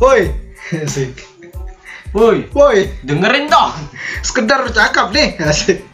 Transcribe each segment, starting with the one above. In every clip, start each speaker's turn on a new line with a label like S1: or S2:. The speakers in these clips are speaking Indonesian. S1: Woi, asik.
S2: Woi,
S1: Woi,
S2: dengerin dong.
S1: sekedar bercakap nih, asik.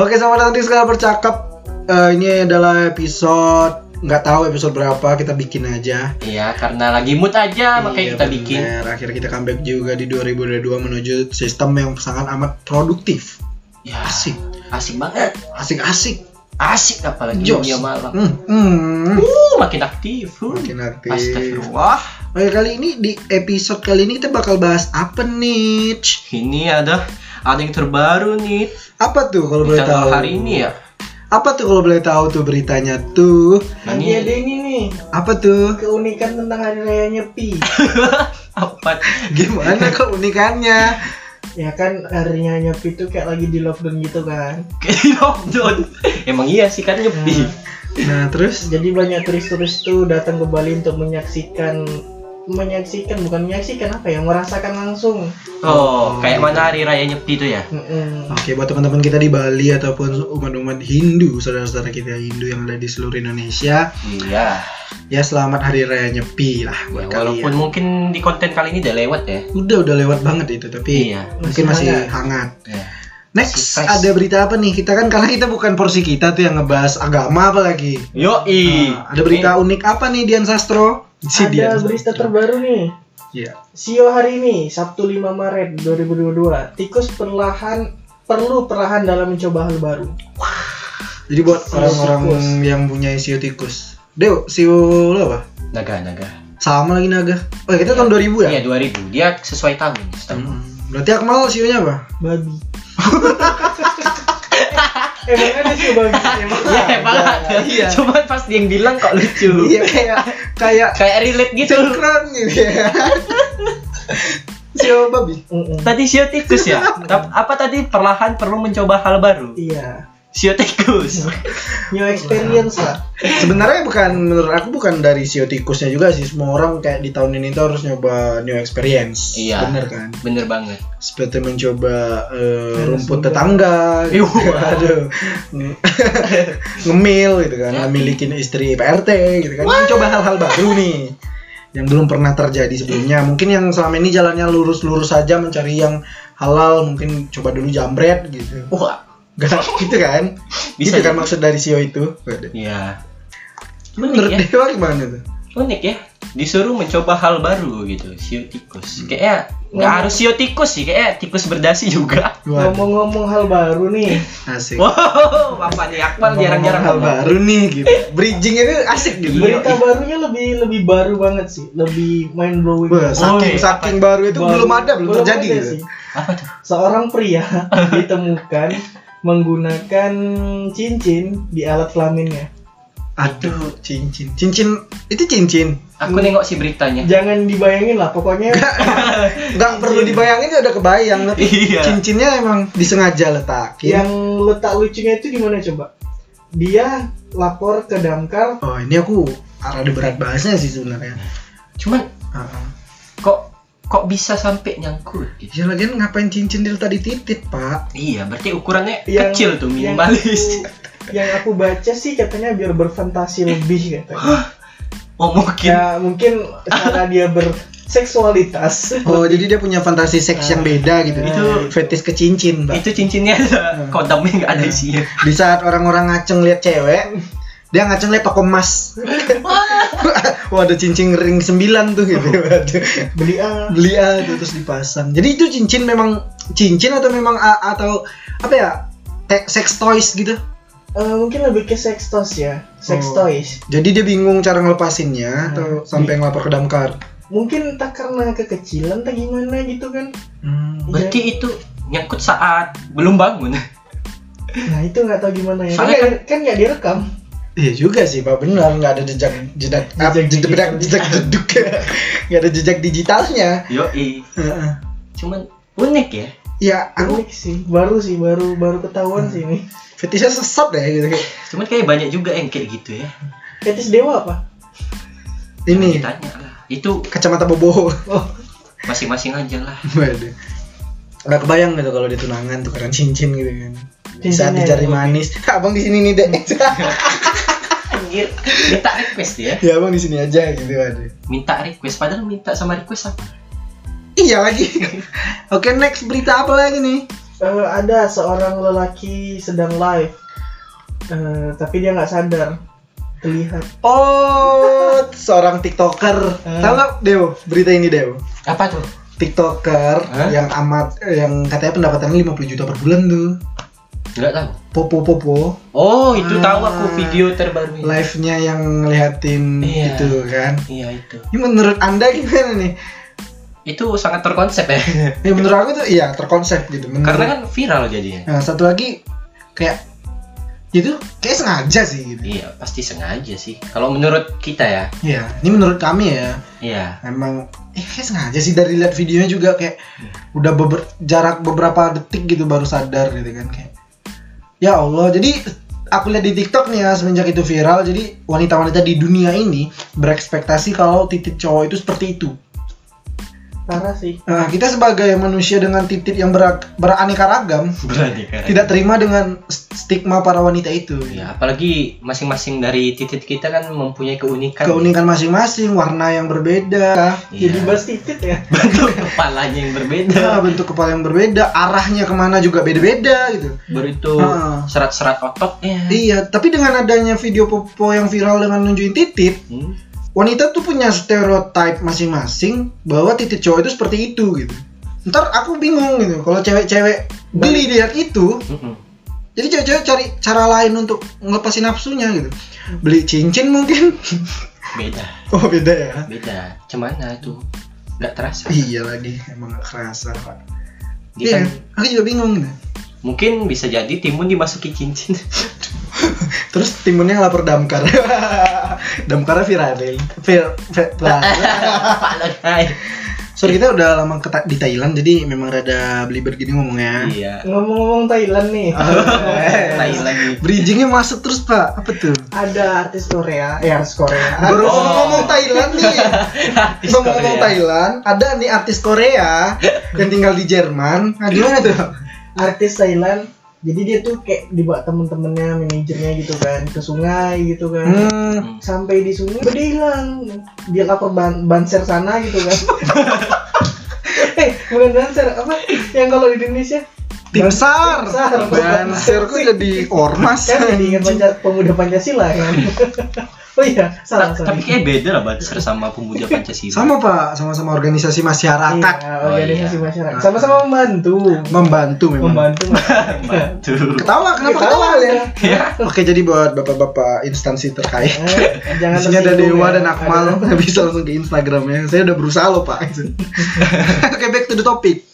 S1: Oke, sama nanti sekedar bercakap. Eh, ini adalah episode nggak tahu episode berapa kita bikin aja.
S2: Iya, karena lagi mood aja makanya
S1: Iya,
S2: kita bikin.
S1: bener. Akhirnya kita comeback juga di 2022 menuju sistem yang sangat amat produktif.
S2: Ya,
S1: Asik,
S2: asik banget.
S1: asik-asik.
S2: Asik apalagi
S1: Jos.
S2: dunia malam.
S1: Hmm, hmm.
S2: Uh, makin aktif. huh.
S1: Makin aktif.
S2: Astagfirullah.
S1: Oke, kali ini di episode kali ini kita bakal bahas apa nih? Ch?
S2: Ini ada ada yang terbaru nih.
S1: Apa tuh kalau boleh
S2: Kita
S1: tahu?
S2: hari ini ya.
S1: Apa tuh kalau boleh tahu tuh beritanya tuh?
S2: Nah,
S3: Ini ada
S2: ini
S3: ini nih
S1: Apa tuh?
S3: keunikan tentang hari raya nyepi.
S2: apa?
S1: Gimana kok unikannya?
S3: ya kan hari raya nyepi tuh kayak lagi di lockdown gitu kan.
S2: Kayak lockdown. Emang iya sih kan nyepi.
S1: Nah, terus
S3: Jadi banyak turis-turis tuh datang ke Bali untuk menyaksikan menyaksikan bukan menyaksikan apa ya merasakan langsung.
S1: iya.
S2: Oh, kayak mana hari raya nyepi tuh ya?
S3: Mm-mm.
S1: Oke, buat teman-teman kita di Bali ataupun umat-umat Hindu, saudara-saudara kita Hindu yang ada di seluruh Indonesia,
S2: Iya.
S1: ya selamat Hari Raya Nyepi lah buat
S2: Ya,
S1: kalian.
S2: walaupun mungkin di konten kali ini udah lewat ya.
S1: Udah udah lewat banget itu, tapi
S2: Iya.
S1: mungkin
S3: Masih
S1: masih
S3: hangat.
S1: hangat.
S2: Iya.
S1: Next,
S2: Surprise.
S1: ada berita apa nih? Kita kan karena kita bukan porsi kita tuh yang ngebahas agama apalagi.
S2: Yoi.
S1: Nah, ada berita unik apa nih Dian Sastro? Si Dian
S3: Ada berita
S1: Sastro.
S3: terbaru nih.
S1: Iya.
S3: Sio hari ini Sabtu 5 Maret 2022. Tikus perlahan perlu perlahan dalam mencoba hal baru.
S1: Jadi buat
S3: Sio
S1: orang-orang
S3: tikus.
S1: yang punya sio tikus. Deo, sio lo apa?
S2: Naga, naga.
S1: Sama lagi naga. Oh, kita tahun 2000 ya?
S2: Iya 2000. Dia sesuai tahun. setahun.
S1: Hmm. Berarti Akmal sionya apa?
S3: Babi. Emang ada sih babi. Emang
S2: Iya emang ada.
S1: Iya.
S2: Cuman pas dia yang bilang kok lucu.
S1: Iya kayak kayak
S2: Kayak relate gitu.
S1: sinkron gitu ya. Sio babi.
S3: Mm-mm.
S2: Tadi sio tikus ya. Tap- Apa tadi perlahan perlu mencoba hal baru?
S3: Iya.
S2: Sio tikus.
S3: new experience lah
S1: Sebenarnya bukan menurut aku bukan dari sio tikusnya juga sih. Semua orang kayak di tahun ini tuh harus nyoba new experience.
S2: Iya.
S1: Bener kan?
S2: Bener banget.
S1: Seperti mencoba eh, rumput
S3: sumber.
S1: tetangga.
S2: Yuh.
S1: Aduh. Nge- ngemil gitu kan,
S2: Ya.
S1: ngemilikin istri PRT gitu kan. Mencoba hal-hal baru nih yang belum pernah terjadi sebelumnya. Mungkin yang selama ini jalannya lurus-lurus saja mencari yang halal, mungkin coba dulu jambret gitu.
S2: Wah.
S1: Gak gitu kan?
S2: Bisa ya?
S1: gitu kan maksud dari Sio itu. Waduh.
S2: Iya. Unik
S1: Menurut
S2: ya.
S1: Dewa gimana tuh?
S2: Unik ya. Disuruh mencoba hal baru gitu. Sio tikus. Kayaknya nggak
S3: Ngomong-
S2: harus sio tikus sih. Kayaknya tikus berdasi juga.
S1: Waduh,
S3: ngomong-ngomong hal baru nih
S1: asik.
S2: Iya. Wow. Apa nih Akmal jarang-jarang
S1: hal
S2: ngomong.
S1: baru nih gitu. Bridging itu asik gitu.
S2: Iya.
S3: berita barunya lebih lebih baru banget sih lebih mind blowing
S1: Wah, saking
S2: Woi,
S1: saking baru itu belum ada, belum, terjadi
S3: ada
S1: gitu.
S3: sih. seorang pria ditemukan menggunakan cincin di alat kelaminnya
S1: Aduh, cincin. Cincin itu cincin.
S2: Aku nengok sih beritanya.
S3: jangan dibayangin lah pokoknya
S1: Nggak perlu dibayangin ya udah kebayang tapi
S2: Iya.
S1: cincinnya emang disengaja letakin.
S3: yang letak lucunya itu di mana coba dia lapor ke damkar
S1: Oh, ini aku ada berat bahasnya sih sebenarnya.
S2: Cuman
S1: Heeh.
S2: kok kok bisa sampai nyangkut
S1: Ya
S2: gitu?
S1: lagian ngapain cincin diletak di titik, Pak?
S2: Iya, berarti ukurannya
S1: Iya.
S3: yang
S2: kecil tuh
S3: yang
S2: minimalis.
S3: aku- yang aku baca sih katanya biar berfantasi lebih katanya
S2: Oh mungkin
S3: ya mungkin karena dia berseksualitas
S1: Oh, jadi dia punya fantasi seks yang beda gitu.
S2: Ah. Itu- Iya.
S1: fetis ke cincin, Pak.
S2: itu cincinnya ada
S1: Hmm.
S2: kodamnya nggak ada
S1: Hmm.
S2: isinya.
S1: Di saat orang-orang ngaceng lihat cewek, dia ngaceng lihat toko emas. Wah, ada cincin ring 9 tuh gitu. Waduh.
S3: beli ah
S1: beli aja terus dipasang jadi itu cincin memang cincin atau memang a- atau apa ya te- sex toys gitu
S3: Eh, mungkin lebih ke sex toys ya sex
S1: Oh.
S3: toys
S1: jadi dia bingung cara
S3: Hmm.
S1: ngelepasinnya atau sampai
S3: Iya.
S1: ngelapor ke damkar
S3: mungkin tak karena kekecilan tak gimana gitu kan
S2: Berarti itu nyangkut saat belum bangun.
S3: nah itu nggak tahu gimana ya
S2: Soalnya
S3: kan kan nggak direkam
S1: iya juga sih pak benar nggak ada jejak jejak apa,
S3: Jejak
S1: jejak
S3: digital.
S1: jejak jeduk nggak ada jejak digitalnya
S2: Yoi.
S1: Heeh.
S2: Cuman unik ya.
S1: ya aku
S3: unik sih baru sih baru baru ketahuan sih ini
S1: fetisnya sesat ya gitu kayak
S2: Cuman kayak banyak juga yang kayak gitu ya.
S3: etis dewa apa
S1: ini
S2: Ditanya lah. Itu
S1: kacamata bobo
S3: oh
S2: masing-masing aja lah.
S1: Waduh. Gak kebayang gitu kalau di tunangan tukeran cincin gitu kan. Di saat
S3: Cincinnya
S1: dicari
S3: yang
S1: manis, "Ah, abang di sini nih dek.
S2: Anjir, minta request ya.
S1: ya abang di sini aja gitu waduh.
S2: Minta request padahal minta sama request apa?
S1: Iya lagi. Oke next berita apa lagi nih?
S3: Eh, ada seorang lelaki sedang live, Eh, tapi dia nggak sadar, terlihat.
S1: Oh seorang tiktoker.
S3: Hmm.
S1: Tahu nggak Dew berita ini Dew?
S2: Apa tuh?
S1: Tiktoker
S2: Hah?
S1: yang amat eh, yang katanya pendapatannya 50 juta per bulan tuh.
S2: Enggak tahu.
S1: Popo popo
S2: Oh, itu
S1: Ah.
S2: tahu aku video terbarunya.
S1: live-nya yang ngeliatin
S2: Iya.
S1: gitu kan.
S2: Iya, itu.
S1: Ini menurut Anda gimana nih?
S2: Itu sangat terkonsep ya.
S1: Ya menurut aku tuh iya terkonsep gitu. Menurut-
S2: Karena kan viral jadinya.
S1: Nah, satu lagi kayak itu kayak sengaja sih gitu.
S2: Iya, pasti sengaja sih. Kalau menurut kita ya.
S1: Iya, ini menurut kami ya.
S2: Iya.
S1: Emang eh kayak sengaja sih dari lihat videonya juga kayak udah beber- jarak beberapa detik gitu baru sadar gitu kan kayak. Ya Allah, jadi aku lihat di TikTok nih ya semenjak itu viral, jadi wanita-wanita di dunia ini berekspektasi kalau titik cowok itu seperti itu.
S3: Parah sih.
S1: Nah, kita sebagai manusia dengan titik yang berak- beraneka ragam
S2: Berani kan.
S1: tidak terima dengan stigma para wanita itu.
S2: Ya, apalagi masing-masing dari titik kita kan mempunyai keunikan.
S1: keunikan masing-masing, warna yang berbeda,
S2: Iya.
S3: Jadi bas titit ya.
S2: bentuk kepalanya yang berbeda.
S1: nah, bentuk kepala yang berbeda, arahnya kemana juga beda-beda gitu.
S2: Baru itu
S1: Ah.
S2: serat-serat ya. ototnya.
S1: Iya, tapi dengan adanya video popo yang viral dengan nunjukin titit,
S2: Hmm.
S1: wanita tuh punya stereotype masing-masing bahwa titik cowok itu seperti itu gitu. Ntar aku bingung gitu, kalau cewek-cewek beli lihat itu,
S2: Mm-mm.
S1: jadi cewek-cewek cari cara lain untuk ngelepasin nafsunya gitu. Beli cincin mungkin?
S2: Beda,
S1: oh beda ya.
S2: beda. Cemana tuh? Nggak terasa.
S1: Iya lagi, emang gak kerasa pak.
S2: Dia
S1: Iya,
S2: kan
S1: aku juga bingung gitu.
S2: mungkin bisa jadi timun dimasuki cincin.
S1: Terus timunnya lapor damkar. Damkarnya viraling. Vir, vir- lah.
S2: Pak Lodai.
S1: Sorry kita udah lama ke Ta- di Thailand jadi memang rada belibet gini ngomongnya.
S2: Iya.
S3: Ngomong-ngomong Thailand nih,
S1: Oh.
S2: Tai lagi.
S1: Bridgingnya masuk terus pak. Apa tuh?
S3: ada artis Korea, eh artis Korea.
S1: Baru ngomong Thailand nih.
S2: Artis
S1: Baru ngomong
S2: Korea.
S1: Thailand. Ada nih artis Korea yang tinggal di Jerman. Nah, gimana tuh?
S3: artis Thailand jadi dia tuh kayak dibawa temen-temennya manajernya gitu kan ke sungai gitu kan
S1: Hmm,
S3: sampai di sungai udah hilang dia lapor ban banser sana gitu kan eh bukan banser apa yang kalau di Indonesia
S1: tim sar.
S3: Tim SAR.
S1: Banser kok jadi ormas.
S3: kan jadi ingat Panca- pemuda Pancasila kan oh iya salah
S2: Ta-
S3: salah
S2: Tapi kayak beda lah Banser sama pemuda Pancasila.
S1: Sama pak, sama-sama organisasi masyarakat
S3: Iya, organisasi
S2: Oh, iya.
S3: masyarakat sama-sama membantu
S1: membantu memang.
S3: Iya. membantu masyarakat.
S2: Tuh.
S1: Ketawa, kenapa ketawa,
S3: Ketawa iya.
S1: kalian?
S2: Ya.
S1: Oke, jadi buat bapak-bapak instansi terkait.
S3: Eh, jangan
S1: Di sini ada
S3: tersinggung
S1: Dewa
S3: ya.
S1: dan Akmal, bisa langsung ke Instagramnya. Saya udah berusaha loh pak. Oke, back to the topic.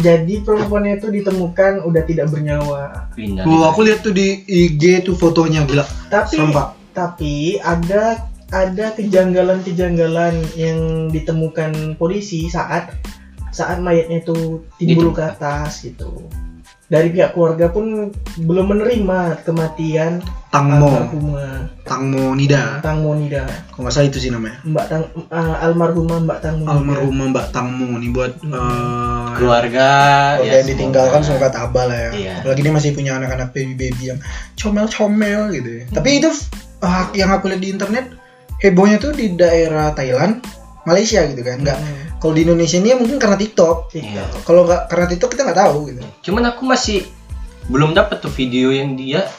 S3: jadi perempuannya itu ditemukan udah tidak bernyawa
S2: Pindah.
S1: Wah, aku lihat tuh di IG tuh fotonya gila.
S3: tapi
S1: Serem, Pak.
S3: tapi ada ada kejanggalan-kejanggalan yang ditemukan polisi saat saat mayatnya itu timbul ke
S2: Ditemukan.
S3: atas gitu dari pihak keluarga pun belum menerima kematian
S1: Tangmo,
S3: almarhumah
S1: Tangmo Nida.
S3: Tang Monida
S1: Kalau nggak salah itu sih namanya.
S3: Mbak Tang eh, almarhumah Mbak Tang Monida
S1: Almarhumah Mbak Tangmo nih buat
S3: Hmm.
S1: eh,
S2: keluarga ya
S1: keluarga yang
S2: semoga.
S1: ditinggalkan semoga tabah lah ya.
S2: Iya.
S1: Apalagi dia masih punya anak-anak baby-baby yang comel-comel gitu ya. Tapi itu ah, yang aku lihat di internet hebohnya tuh di daerah Thailand, Malaysia gitu kan. Enggak.
S3: Hmm,
S1: Kalau di Indonesia ini ya mungkin karena TikTok.
S2: Iya.
S3: TikTok.
S1: Kalau nggak karena TikTok kita nggak tahu gitu.
S2: Cuman aku masih belum dapat tuh video yang dia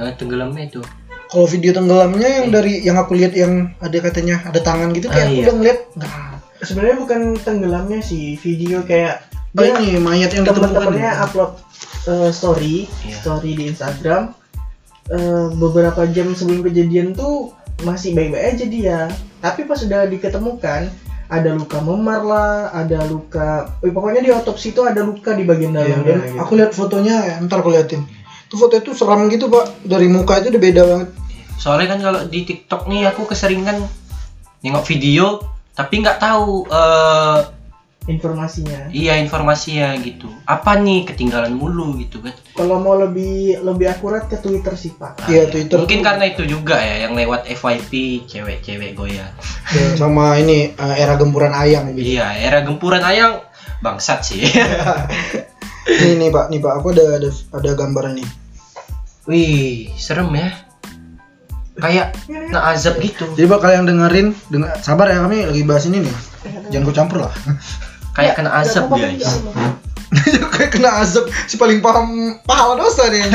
S2: eh, tenggelamnya itu.
S1: Kalau video tenggelamnya yang dari yang aku lihat yang ada katanya ada tangan gitu kayak
S2: Hmm. Ah,
S1: aku
S2: iya.
S1: udah ngeliat nggak.
S3: sebenarnya bukan tenggelamnya sih video kayak
S1: Oh,
S3: dia-
S1: ini mayat yang kan. ditemukan.
S3: teman-temannya upload eh, story
S2: Iya.
S3: story di Instagram Eh, beberapa jam sebelum kejadian tuh masih baik-baik aja dia tapi pas sudah diketemukan ada luka memar lah ada luka eh, pokoknya di otopsi itu ada luka di bagian
S1: Iya,
S3: dalam
S1: iya.
S3: gitu.
S1: Aku lihat fotonya, ya, ntar aku liatin. Tuh foto itu seram gitu pak, dari muka itu udah beda banget.
S2: Soalnya kan kalau di TikTok nih aku keseringan nengok video tapi nggak tahu eh
S3: informasinya
S2: iya informasinya gitu. Apa nih ketinggalan mulu gitu kan.
S3: kalau mau lebih lebih akurat ke Twitter sih pak
S1: Iya Twitter.
S2: Mungkin karena itu juga ya yang lewat FYP cewek-cewek goyang.
S1: Ya, sama ini eh, era gempuran ayam gitu.
S2: Iya, era gempuran ayang bangsat sih.
S1: Ini nih pak, nih pak, aku ada ada, ada gambaran nih.
S2: Wih, serem ya. Kayak nah azab gitu.
S1: Jadi buat kalian dengerin, dengar, sabar ya kami lagi bahas ini nih. Jangan kau campur lah.
S2: kayak kena azab dia.
S1: Iya, kayak kena azab si paling paham pahala dosa nih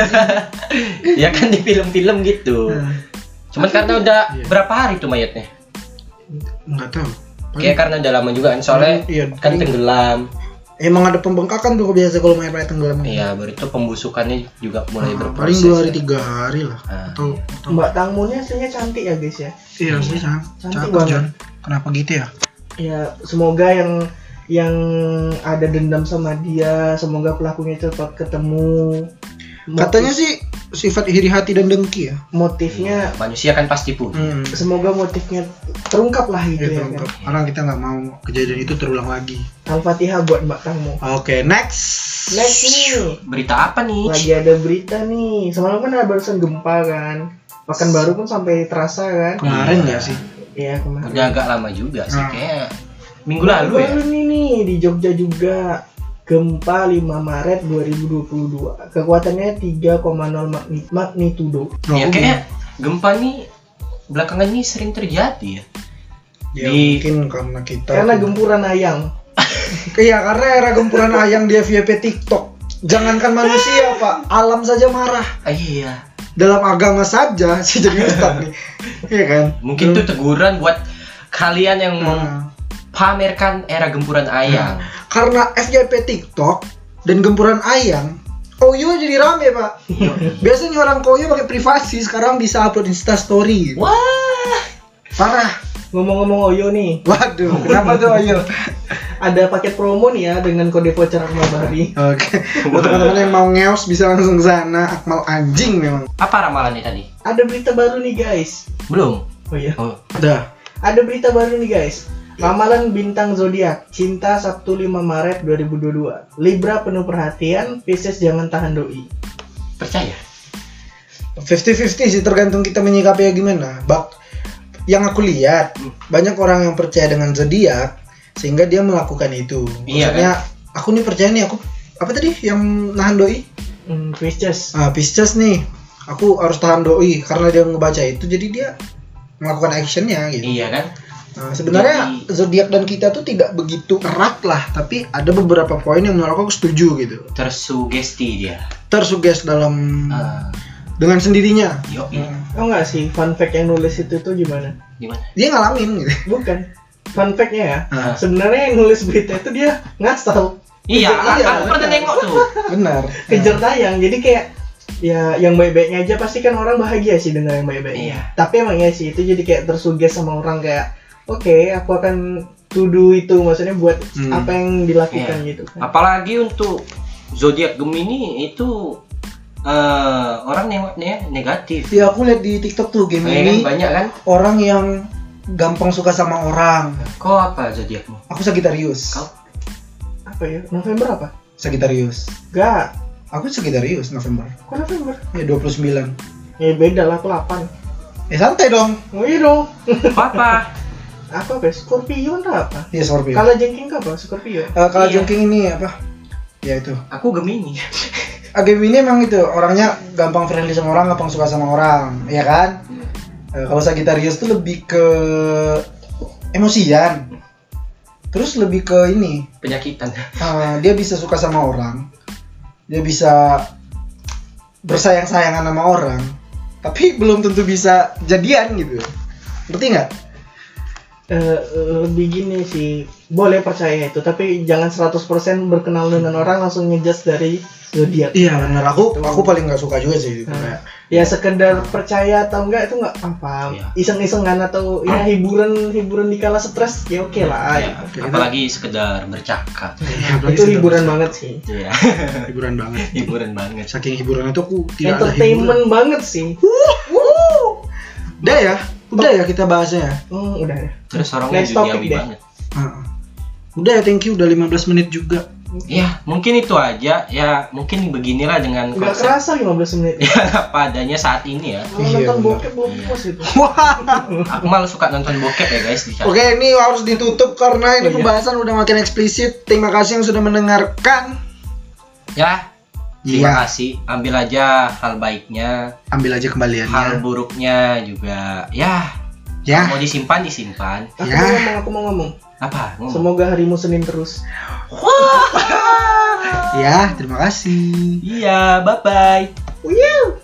S2: ya kan di film-film gitu. Cuman karena udah
S1: Iya.
S2: berapa hari tuh mayatnya?
S1: nggak tahu Paling-
S2: Kayak karena udah lama juga Iya kan soalnya
S1: Hmm. Iya, Hmm.
S2: kan
S1: paling-
S2: tenggelam.
S1: emang ada pembengkakan tuh biasa kalau main main tenggelam
S2: Iya, baru itu pembusukannya juga mulai
S1: Nah,
S2: berproses.
S1: paling dua hari
S2: ya.
S1: tiga hari lah
S2: Ah.
S1: atau, atau
S3: Mbak Tangmunnya aslinya cantik ya guys ya.
S1: iya sih Sam.
S3: Cantik
S1: cakep
S3: banget.
S1: John kenapa gitu ya
S3: Ya semoga yang yang ada dendam sama dia, semoga pelakunya cepat ketemu. Motif-
S1: katanya sih sifat iri hati dan dengki ya
S3: motifnya
S2: manusia kan pasti punya.
S1: hmm.
S3: semoga motifnya terungkap lah gitu
S1: Gitu,
S3: ya kan.
S1: untuk- karena kita nggak mau kejadian itu terulang lagi
S3: Al-Fatihah buat Mbak Tangmu.
S1: oke next
S3: Next nih,
S2: Berita apa nih?
S3: lagi ada berita nih. Semalam kan ada barusan gempa kan. Pekanbaru pun sampai terasa kan.
S1: kemarin
S2: Iya.
S1: nggak sih
S3: Iya kemarin.
S2: Udah agak lama juga sih
S1: Nah.
S2: kayak minggu lalu ya.
S3: Baru nih nih di Jogja juga gempa 5 Maret 2022. Kekuatannya 3,0 magni- magnitudo.
S1: Oh,
S2: Ya kayak gempa nih belakangan ini sering terjadi ya.
S1: ya,
S2: di-
S1: mungkin karena kita
S3: Karena gempuran ayam.
S1: Iya karena era gempuran ayang di FYP TikTok. Jangankan manusia pak, alam saja marah.
S2: Ah, iya.
S1: Dalam agama saja sih jadi ustad nih, iya kan?
S2: Mungkin itu teguran buat kalian yang mau
S1: Nah,
S2: pamerkan era gempuran ayam.
S1: Hmm. karena FYP TikTok dan gempuran ayang, Koyo jadi rame pak. Biasanya orang Koyo pakai privasi, sekarang bisa upload Insta Story.
S2: Wah,
S1: Parah.
S3: Ngomong-ngomong Oyo nih,
S1: Waduh, kenapa tuh Ayo?
S3: ada paket promo nih ya dengan kode voucher Akmal Bahri.
S1: Oke, buat teman-teman yang mau ngeos bisa langsung ke sana. Akmal anjing memang.
S2: apa ramalannya tadi?
S3: Ada berita baru nih guys.
S2: Belum.
S3: Oh iya.
S2: Oh,
S1: Dah.
S3: Ada berita baru nih guys. Ramalan bintang zodiak cinta Sabtu 5 Maret 2022. Libra penuh perhatian, Pisces jangan tahan doi.
S2: percaya.
S1: 50-50 sih tergantung kita menyikapinya gimana. Bak yang aku lihat
S2: Hmm.
S1: banyak orang yang percaya dengan zodiak sehingga dia melakukan itu.
S2: Iya,
S1: Maksudnya aku nih percaya nih aku apa tadi yang nahan doi?
S3: Hmm, Pisces.
S1: Ah, Pisces nih. Aku harus tahan doi karena dia ngebaca itu jadi dia melakukan actionnya gitu.
S2: Iya kan?
S1: Nah, sebenarnya
S2: Jadi-
S1: zodiak dan kita tuh tidak begitu erat lah, tapi ada beberapa poin yang menurut aku setuju gitu.
S2: Tersugesti dia.
S1: Tersuges dalam
S2: Ah, Iya.
S1: dengan sendirinya. Hmm.
S2: yo,
S3: Tau nggak sih fun fact yang nulis itu tuh gimana?
S2: gimana?
S1: Dia ngalamin gitu.
S3: Bukan. Fun fact-nya ya.
S1: Ah.
S3: Sebenarnya yang nulis berita itu dia ngasal
S2: Iya,
S1: iya,
S2: aku pernah nengok tuh.
S1: Benar.
S3: kejar tayang. Jadi kayak ya yang baik-baiknya aja pasti kan orang bahagia sih dengan yang
S2: Iya.
S3: baik-baiknya. Tapi emang iya sih itu jadi kayak tersuges sama orang kayak oke aku akan to do itu maksudnya buat
S1: Hmm.
S3: apa yang dilakukan gitu kan.
S2: Apalagi untuk zodiak Gemini itu eh orang nengoknya negatif.
S1: Ya aku lihat di TikTok tuh game
S2: Kayak kan
S1: ini
S2: banyak kan?
S1: orang yang gampang suka sama orang.
S2: Kau apa zodiakmu?
S1: Aku Sagittarius.
S2: Kau?
S3: Apa ya? November apa?
S1: Sagittarius.
S3: Gak.
S1: Aku Sagittarius November.
S3: Kok November?
S1: Ya 29.
S3: Ya beda lah aku 8.
S1: Ya santai dong.
S3: Oh iya dong.
S2: Papa.
S3: Apa guys? Scorpio lah apa?
S1: Ya Scorpio. Kalau
S3: Kalau jengking apa? Scorpio.
S1: Eh, kalau
S2: Iya.
S1: Jongking ini apa? Ya itu.
S2: Aku Gemini.
S1: Ah, game ini emang itu orangnya gampang friendly sama orang, gampang suka sama orang, ya kan? Eh, kalau Sagittarius tuh lebih ke emosian. Terus lebih ke ini,
S2: Penyakitan.
S1: Uh, dia bisa suka sama orang, dia bisa bersayang-sayangan sama orang, tapi belum tentu bisa jadian gitu. Ngerti nggak?
S3: Eh, lebih gini sih boleh percaya itu tapi jangan 100% berkenal dengan orang langsung ngejudge dari zodiak
S1: Iya benar. Aku aku paling nggak suka juga sih gitu.
S3: Nah,
S1: kayak.
S3: ya sekedar percaya atau enggak itu enggak apa
S2: Iya.
S3: iseng-isengan atau
S1: Ah.
S3: ya hiburan hiburan di kala stres ya
S1: Iya,
S3: oke lah
S2: Ya,
S1: oke.
S2: apalagi sekedar bercakap.
S3: itu hiburan banget sih
S2: Iya.
S1: Iya, Hiburan banget.
S2: Hiburan banget.
S1: Saking hiburan itu aku tidak ada hiburan.
S3: entertainment banget sih
S1: Udah ya, udah ya kita bahasnya. ya.
S3: hmm, udah ya
S2: Terus orangnya
S3: Next topic
S2: duniawi
S3: deh.
S2: banget.
S1: Ah. Udah ya, thank you. Udah 15 menit juga.
S2: Ya, mungkin itu aja. Ya, mungkin beginilah dengan
S3: nggak
S2: konsep
S3: kerasa 15 menit ya.
S2: yang apa adanya saat ini ya.
S3: Kalau
S1: Iya,
S3: nonton
S1: benar.
S3: bokep gitu. belum puas itu
S1: Wah.
S2: Aku malah suka nonton bokep ya guys di
S1: Oke, ini harus ditutup karena ini
S3: Oh, iya.
S1: pembahasan udah makin eksplisit. Terima kasih yang sudah mendengarkan.
S2: Ya,
S1: Iya.
S2: terima kasih. Ambil aja hal baiknya,
S1: Iya. ambil aja kembaliannya.
S2: hal buruknya juga. Ya,
S1: Ya,
S2: mau disimpan disimpan
S3: Aku
S1: Ya. Oh.
S3: mau ngomong, aku mau ngomong.
S2: apa ngomong
S3: Semoga harimu Senin terus.
S1: ya, terima kasih.
S2: iya bye bye
S3: Wuyuh.